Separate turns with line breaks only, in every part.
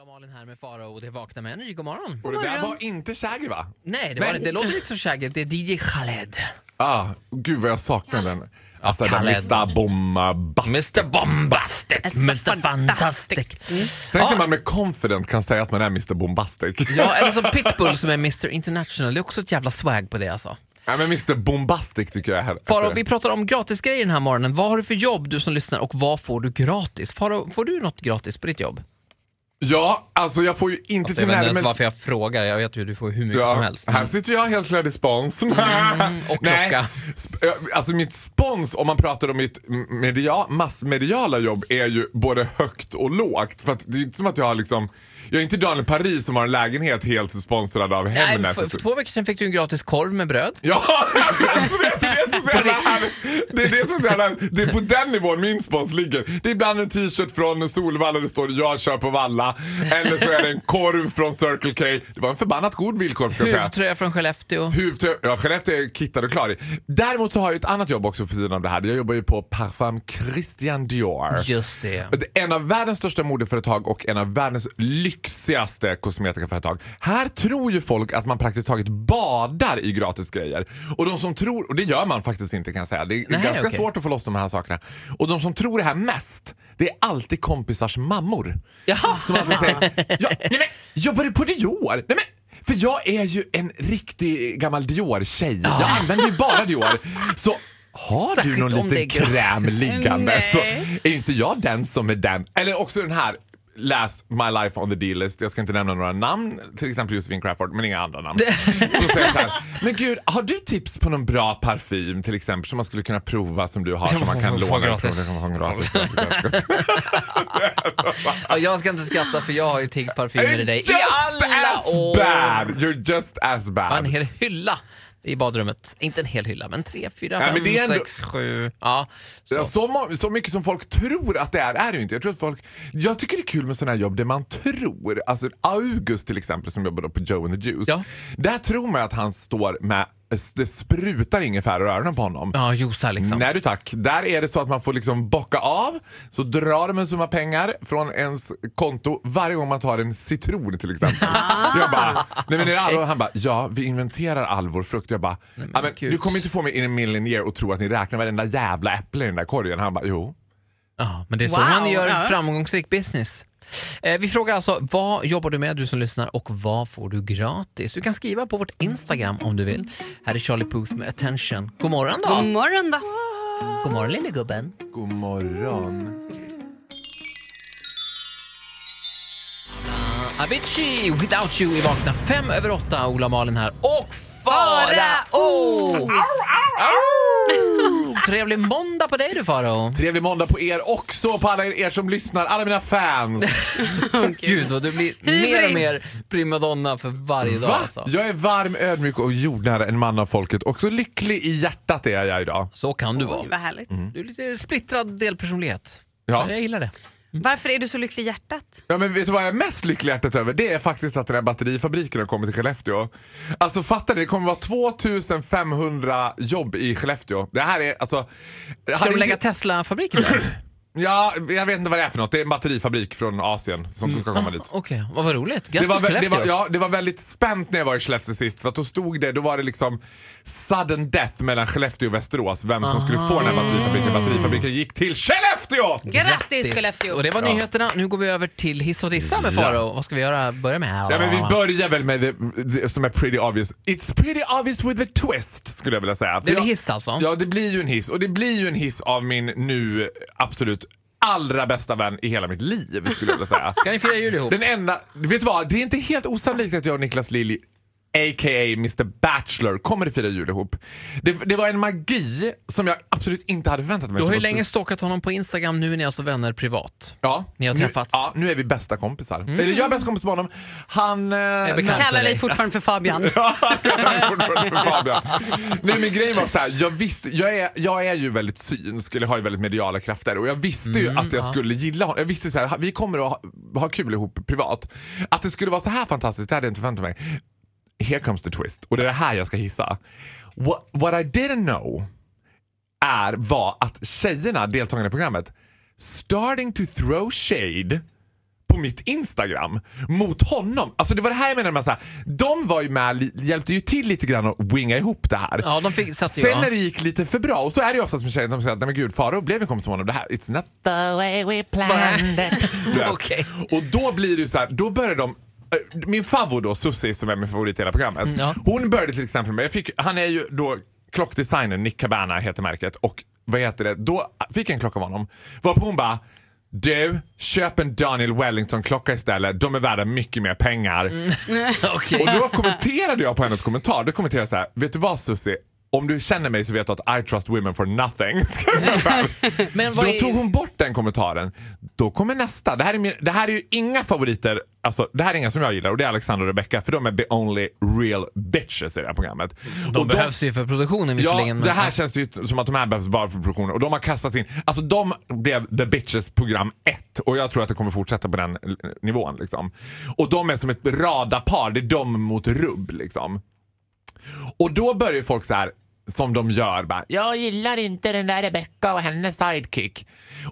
och Malin här med Farao och det är Vakna med Energy. God morgon.
Och det där var inte Shaggy va?
Nej, det, var,
Nej.
det, det låter lite som Shagget. Det är DJ Khaled.
Ah, gud vad jag saknar den. Alltså den
Kalle.
Mr Bomma Bust.
Mr Bombastic, Mr Fantastic.
Tänk
Ja.
när man med confident kan säga att man är Mr Bombastic.
Ah. Ja, eller som Pitbull som är Mr International. Det är också ett jävla swag på det alltså.
Nej men Mr Bombastic tycker jag är
Farao, vi pratar om gratisgrejer den här morgonen. Vad har du för jobb du som lyssnar och vad får du gratis? Farao, får du något gratis på ditt jobb?
Ja, alltså jag får ju inte
Alltså, jag
till
vet inte
närmare...
ens varför jag frågar. Jag vet ju du får hur mycket som helst. Mm,
Här sitter jag helt klädd i spons.
och
Nej,
klocka.
sp- eh, Alltså mitt spons, om man pratar om mitt media, massmediala jobb, är ju både högt och lågt. För att det är inte som att jag har liksom... Jag är inte Daniel Paris som har en lägenhet helt sponsrad av
Nej,
Hemnet.
för, för två veckor sedan fick du en gratis korv med bröd.
Ja, jag vet, vet, det är det som är så jävla härligt. Det är det som är så jävla härligt. Det är på den nivån min spons ligger. Det är ibland en t-shirt från Solvalla där det står “Jag kör på Valla” eller så är det en korv från Circle K. Det var en förbannat god bilkorv ska jag säga.
Huvtröja från Skellefteå.
Huvudtröja, ja Skellefteå är kittad och klar i. Däremot så har jag ju ett annat jobb också för sidan av det här. Jag jobbar ju på Parfum Christian Dior.
Just det.
Det är En av världens största modeföretag och en av världens lyxigaste kosmetikaföretag. Här tror ju folk att man praktiskt taget badar i gratis grejer. Och de som tror, och det gör man faktiskt inte kan jag säga. Det är
Nej,
ganska
okej.
svårt att få loss de här sakerna. Och de som tror det här mest, det är alltid kompisars mammor.
Jaha.
Som alltid säger, ja, nej men, jobbar du på Dior? Nej men, för jag är ju en riktig gammal Dior-tjej. Jag använder ju bara Dior. Så har du
Särskilt
någon
om det är
liten
grått.
kräm liggande
Nej.
så är ju inte jag den som är den. Eller också den här. Last My Life on the D-list. Jag ska inte nämna några namn, till exempel Josefin Crawford, men inga andra namn. Så säger jag så här, men gud, har du tips på någon bra parfym till exempel som man skulle kunna prova som du har som man kan
Få
låna?
gratis.
Från, från, gratis. gratis, gratis.
Ja, jag ska inte skratta för jag har ju tiggt parfymer i dig i
Just
alla
as
år.
bad! You're just as
Ja, En
bad.
hel hylla i badrummet. Inte en hel hylla, men tre, fyra,
Nej,
fem,
men det är ändå-
sex, sju. Ja,
Ja,
så.
Så, må- så mycket som folk tror att det är, är det ju inte. Jag, tror att folk, jag tycker det är kul med sådana här jobb där man tror. Alltså August till exempel som jobbar då på Joe and the Juice.
Ja.
Där tror man att han står med, det sprutar ingefära ur öronen på honom.
ja juicar liksom.
Nej du tack. Där är det så att man får liksom bocka av, så drar de en summa pengar från ens konto varje gång man tar en citron till exempel. Jag bara, nej men är det allvar? Han bara, ja vi inventerar all vår frukt. Jag bara, ja, men,
gud.
du kommer inte få mig in a million year och tro att ni räknar varenda jävla äpple i den där korgen. Han bara, jo.
Ja, men det är så
Wow,
man gör
ja.
framgångsrik business. Eh, Vi frågar alltså, vad jobbar du med du som lyssnar och vad får du gratis? Du kan skriva på vårt Instagram om du vill. Här är Charlie Puth med Attention. God morgon då!
God morgon då.
Mm. God morgon lille gubben.
God morgon.
Avicii, Without You i Vakna. Fem över åtta, Ola Malin här. Och
Farao!
Farao! Trevlig måndag på dig du Farao.
Trevlig måndag på er också, på alla er som lyssnar, alla mina fans.
Gud vad du blir mer och
Hybris.
mer primadonna för varje dag
Va?
alltså.
Jag är varm, ödmjuk och jordnära en man av folket. Och så lycklig i hjärtat är jag idag.
Så kan du vara.
Oj, vad härligt.
Du är lite splittrad delpersonlighet.
Ja.
Men Jag gillar det.
Varför är du så lycklig i hjärtat?
Ja, men vet du vad jag är mest lycklig i hjärtat över? Det är faktiskt att den här batterifabriken har kommit till Skellefteå. Alltså fattar ni, det kommer vara 2500 jobb i Skellefteå. Det här är alltså...
Ska
hade
de lägga
inte-
Tesla-fabriken där?
Ja, jag vet inte vad det är för något. Det är en batterifabrik från Asien som ska komma dit.
Okej, vad var roligt.
Det
Grattis
var, vä- det,
Mm. Skellefteå.
var, ja, det var väldigt spänt när jag var i Skellefteå sist för att då stod det, då var det liksom sudden death mellan Skellefteå och Västerås, vem som skulle få den
Ah.
här batterifabriken. Batterifabriken gick till Skellefteå!
Grattis Skellefteå!
Och det var
Ja.
nyheterna. Nu går vi över till hiss och dissa med
Ja.
Farao. Vad ska vi göra? Börja med här.
Ja, men vi börjar väl med det, det som är pretty obvious. It's pretty obvious with a twist skulle jag vilja säga. För
Det är
jag-
en hiss alltså?
Ja, det blir ju en hiss. Och det blir ju en hiss av min nu absolut allra bästa vän i hela mitt liv skulle jag vilja säga.
Kan ni fira jul ihop?
Den enda, vet du vad? Det är inte helt osannolikt att jag och Niklas Lilj A.k.a. Mr Bachelor kommer att fira jul ihop. Det, det var en magi som jag absolut inte hade förväntat mig.
Du har ju
Som-
länge stalkat honom på Instagram, nu är ni alltså vänner privat.
Ja,
Ni har
nu,
träffats. Mm.
Ja, nu är vi bästa kompisar. Eller jag är bästa kompis med honom. Han... eh,
bekant.
nej.
Kallar dig fortfarande för Fabian.
Ja, jag är fortfarande för Fabian. Nej men grejen var så här, jag visste, jag är, jag är ju väldigt synsk, eller har ju väldigt mediala krafter och jag visste ju att jag skulle gilla honom. Jag visste så här, vi kommer att ha, ha kul ihop privat. Att det skulle vara så här fantastiskt, det hade jag inte förväntat mig. Here comes the twist och det är det här jag ska hissa. What, what I didn't know är, var att tjejerna, deltagarna i programmet, starting to throw shade på mitt Instagram mot honom. Alltså det var det här jag menade med så här, de var ju med, li- hjälpte ju till lite grann att winga ihop det här.
Ja, de fick, satte
Sen när
jag.
det gick lite för bra, och så är det ju oftast med tjejer, de säger att nej men gud Farao blev en kompis med honom, det här, it's not the way we planned it. Det här.
Okej.
Och då blir det ju så här, då börjar de eh, min favorit då, Susie som är min favorit i hela programmet.
ja.
Hon började till exempel med, jag fick, han är ju då klockdesignern, Nick Cabana heter märket och vad heter det, då fick jag en klocka av honom. Varpå hon bara du, köp en Daniel Wellington-klocka istället. De är värda mycket mer pengar.
Mm. Okej.
Och då kommenterade jag på hennes kommentar. Då kommenterade jag så här. Vet du vad Susie? Om du känner mig så vet du att I trust women for nothing.
Men
Då
vad är...
tog hon bort den kommentaren. Då kommer nästa. Det här är, min, det här är ju inga favoriter. Alltså, det här är inga som jag gillar och det är Alexander och Rebecca för de är the only real bitches i det här programmet.
De
och
behövs ju för produktionen
Ja,
visserligen. men-
det här känns ju som att de här behövs bara för produktionen. Och de har kastat in... Alltså de blev The Bitches program 1 och jag tror att det kommer fortsätta på den l- nivån. Liksom. Och de är som ett radapar, det är de mot rubb liksom. Och då börjar ju folk så här som de gör bara. Jag gillar inte den där Rebecca och hennes sidekick.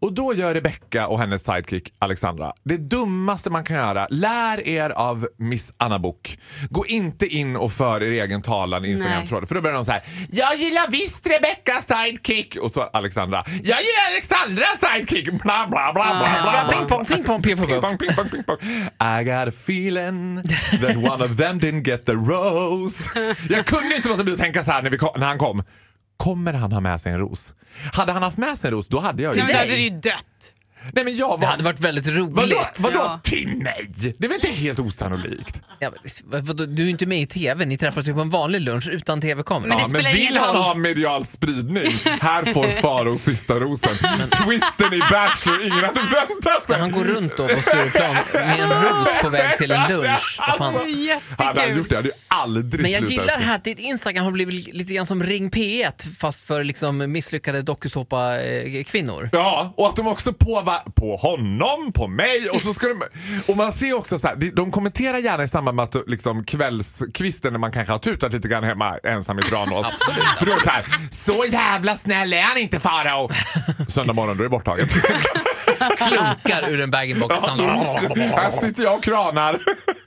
Och då gör Rebecca och hennes sidekick Alexandra det dummaste man kan göra. Lär er av Miss Anna Bok. Gå inte in och för er egen talan i Instagram-tråden. För då börjar de så här. Jag gillar visst Rebecca sidekick. Och så Alexandra. Jag gillar Alexandra sidekick. Bla bla bla bla bla. bla.
Ping pong, ping pong, ping pong.
Ping pong, ping pong, ping pong. I got a feeling that one of them didn't get the rose. Jag kunde inte låta bli att tänka så här när, vi kom, när han kom. Kommer han ha med sig en ros? Hade han haft med sig en ros, då hade jag ju
Nej, men då hade
dig.
det ju dött.
Nej men jag
Det
var...
hade varit väldigt
Vadå,
roligt.
vadå
Ja.
till mig? Det är väl inte helt osannolikt?
Ja, men, vadå, du är ju inte med i TV, ni träffas ju på en vanlig lunch utan TV-kamera.
Men det
Ja, men
spelar
vill
ingen
han
roll.
ha medial spridning? Här får Faro sista rosen. Twisten i Bachelor, ingen hade väntat sig.
Han går runt då på Stureplan med en ros på väg till en lunch. Vad fan.
Alltså,
Jättekul.
Hade han gjort det hade ju aldrig
Men jag
slutat.
gillar här att ditt Instagram har blivit lite grann som Ring P1 fast för liksom misslyckade eh, dokusåpa-kvinnor.
Ja, och att de också på, va- på honom, på mig och så ska de... Och man ser också så här, de- de kommenterar gärna i samband med att liksom, kvällskvisten när man kanske har tutat lite grann hemma ensam i Tranås. För då är det så här, så jävla snäll är han inte Farao! Söndag morgon, då är det borttaget.
Klunkar ur en bag-in-box
här sitter jag och kranar.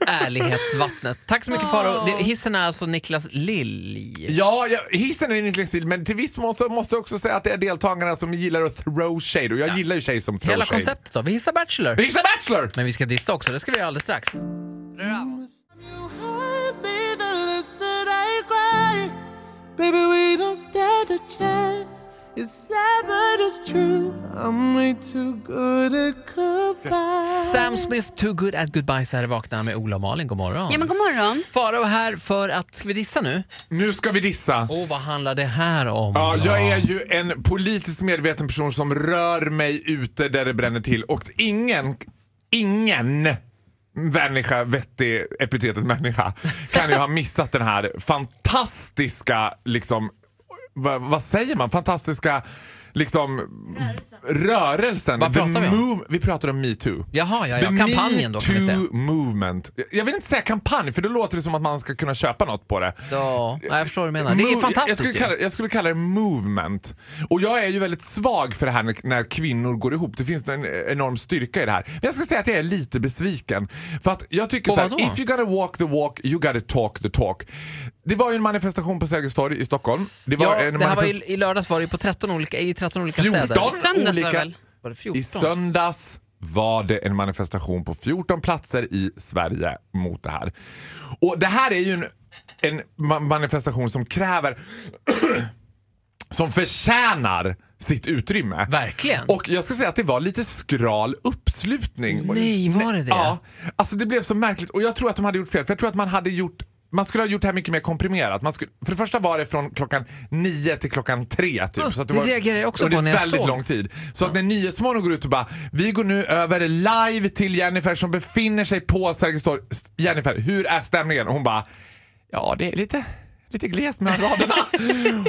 Ärlighetsvattnet. Tack så mycket Faro. Det- Hissen är alltså Niklas Lilj.
Ja, jag, hissen är inte stil, men till viss mån så måste jag också säga att det är deltagarna som gillar att throw shade och jag gillar ju tjejer som throw
Hela
shade.
konceptet då. Vi hissar Bachelor.
Hissa Bachelor!
Men vi ska dissa också, det ska vi göra alldeles strax.
Baby, we don't stand a chance. It's sad, but it's true. I'm way too good at goodbye.
Sam Smith, Too Good At Goodbye, så här är vakna med Ola och Malin. God morgon.
Ja men god morgon.
Farao här för att, ska vi dissa nu?
Nu ska vi dissa.
Åh, vad handlar det här om?
Ja,
då?
jag är ju en politiskt medveten person som rör mig ute där det bränner till och ingen, ingen människa, vettig, epitetet människa, kan ju ha missat den här fantastiska, liksom, vad, vad säger man, fantastiska liksom rörelsen.
Vad
The
pratar vi om?
move- vi pratar om metoo.
Jaha, ja, ja.
The
kampanjen då kan vi säga.
metoo movement. Jag- Jag vill inte säga kampanj för då låter det som att man ska kunna köpa något på det.
Ja, ja, jag förstår vad du menar. Det är
Move- Mm, Jag
fantastiskt
skulle,
ju.
kalla, jag skulle kalla det movement. Och jag är ju väldigt svag för det här när, när kvinnor går ihop. Det finns en enorm styrka i det här. Men jag ska säga att jag är lite besviken. För att jag tycker
På
så här,
vadå?
if you gotta walk the walk, you gotta talk the talk. Det var ju en manifestation på Sergels torg i Stockholm. Det var
Ja,
en
det här var
manifest-
i, I lördags var det ju på 13 olika, i 13 olika
14
städer.
Söndags var det
olika...
väl?
Var det 14?
I söndags var det en manifestation på 14 platser i Sverige mot det här. Och det här är ju en, en ma- manifestation som kräver, som förtjänar sitt utrymme.
Verkligen.
Och jag ska säga att det var lite skral uppslutning.
Nej, var det det?
Ja. Alltså det blev så märkligt och jag tror att de hade gjort fel för jag tror att man hade gjort man skulle ha gjort det här mycket mer komprimerat. Man skulle, för det första var det från klockan nio till klockan tre. Typ,
Oh,
så att
det
var
reagerade jag också
under
på när jag
väldigt
såg.
lång tid. Så att när Nyhetsmorgon går ut och bara “Vi går nu över live till Jennifer som befinner sig på Sergels torg. S- Jennifer, hur är stämningen?” och hon bara “Ja, det är lite...” Lite glest mellan raderna.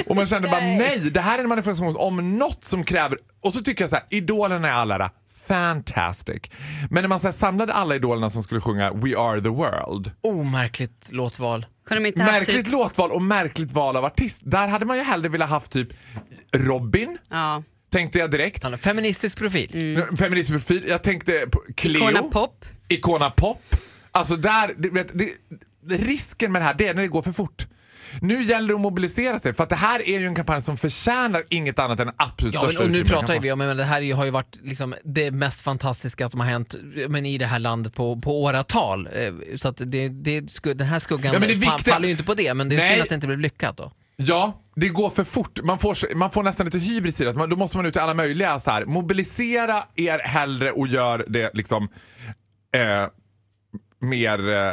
och man kände bara nej, det här är en manifestation om något som kräver... Och så tycker jag så här, idolerna är alla ära, fantastic. Men när man så här, samlade alla idolerna som skulle sjunga We are the world.
Omärkligt låtval.
Kunde de inte haft
Märkligt
typ...
låtval och märkligt val av artist. Där hade man ju hellre velat haft typ Robin,
Ja.
tänkte jag direkt.
Han har feministisk profil.
Nu, Feministprofil. Jag tänkte på Cleo.
Icona Mm. Pop.
Icona Pop. Alltså där, du vet, det, risken med det här det är när det går för fort. Nu gäller det att mobilisera sig för att det här är ju en kampanj som förtjänar inget annat än absolut
Ja, men,
största
och nu
utrymme i
pratar
kampanj.
vi om, men det här är ju- har ju varit liksom det mest fantastiska som har hänt men i det här landet på, på åratal. Eh, Så att det, det, sku- den här skuggan
Ja, men det
fa-
viktiga-
faller ju inte på det, men det är
Nej.
synd att det inte blev lyckat då.
Ja, det går för fort. Man får, sig- man får nästan lite hybris i det. Man- Då måste man ut i alla möjliga så här. Mobilisera er hellre och gör det liksom eh, mer eh,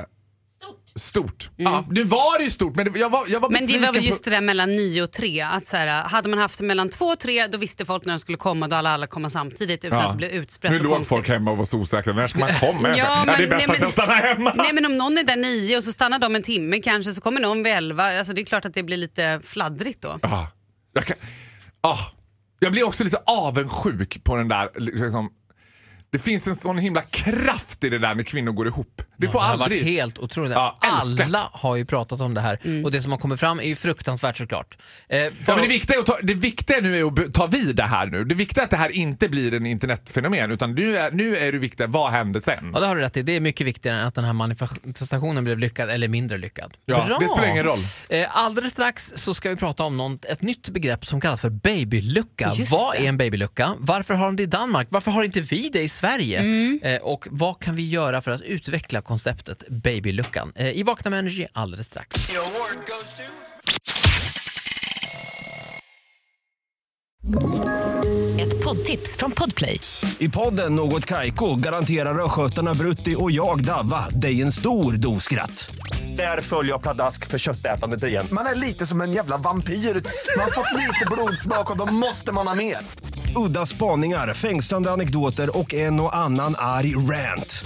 stort. Ja,
Mm.
nu var det ju stort, men det, jag var, jag var
Men det
besviken
var väl just
på...
det där mellan 9 och 3. Att så här, hade man haft det mellan 2 och 3 då visste folk när de skulle komma då alla alla komma samtidigt utan
Ja.
att det blev utsprätt
Nu
och
låg
konstigt.
folk hemma och var så osäkra. När ska man komma?
Ja,
ja, det är bäst
men- nej,
att
men-
jag stannar hemma.
Nej men om någon är där 9 och så stannar de en timme kanske så kommer någon vid 11. Alltså, det är klart att det blir lite fladdrigt då.
Ah, jag, kan, ah, jag blir också lite avundsjuk på den där... Liksom, det finns en sån himla kraft i det där när kvinnor går ihop. Det får
det har
aldrig...
varit helt otroligt.
Ja, älskat. Mm.
Alla har ju pratat om det här och det som har kommit fram är ju fruktansvärt såklart. Eh,
Ja, men det, viktiga är att ta, det viktiga nu är att be- ta vid det här nu. Det viktiga är att det här inte blir en internetfenomen utan nu är, nu är det viktiga, vad händer sen?
Ja, det har du rätt i. Det är mycket viktigare än att den här manifestationen blev lyckad eller mindre lyckad.
Ja, det spelar ingen roll.
Eh, Alldeles strax så ska vi prata om något, ett nytt begrepp som kallas för babylucka.
Just
vad
det.
är en babylucka? Varför har de det i Danmark? Varför har inte vi det i Sverige?
Mm.
Eh, och vad kan vi göra för att utveckla konceptet babyluckan? Eh, I Vakna med Energy alldeles strax.
Ett poddtips från Podplay.
I podden Något Kaiko garanterar östgötarna Brutti och jag, Davva, dig en stor dos skratt. Där följer jag pladask för köttätandet igen.
Man är lite som en jävla vampyr. Man har fått lite blodsmak och då måste man ha mer.
Udda spaningar, fängslande anekdoter och en och annan arg rant.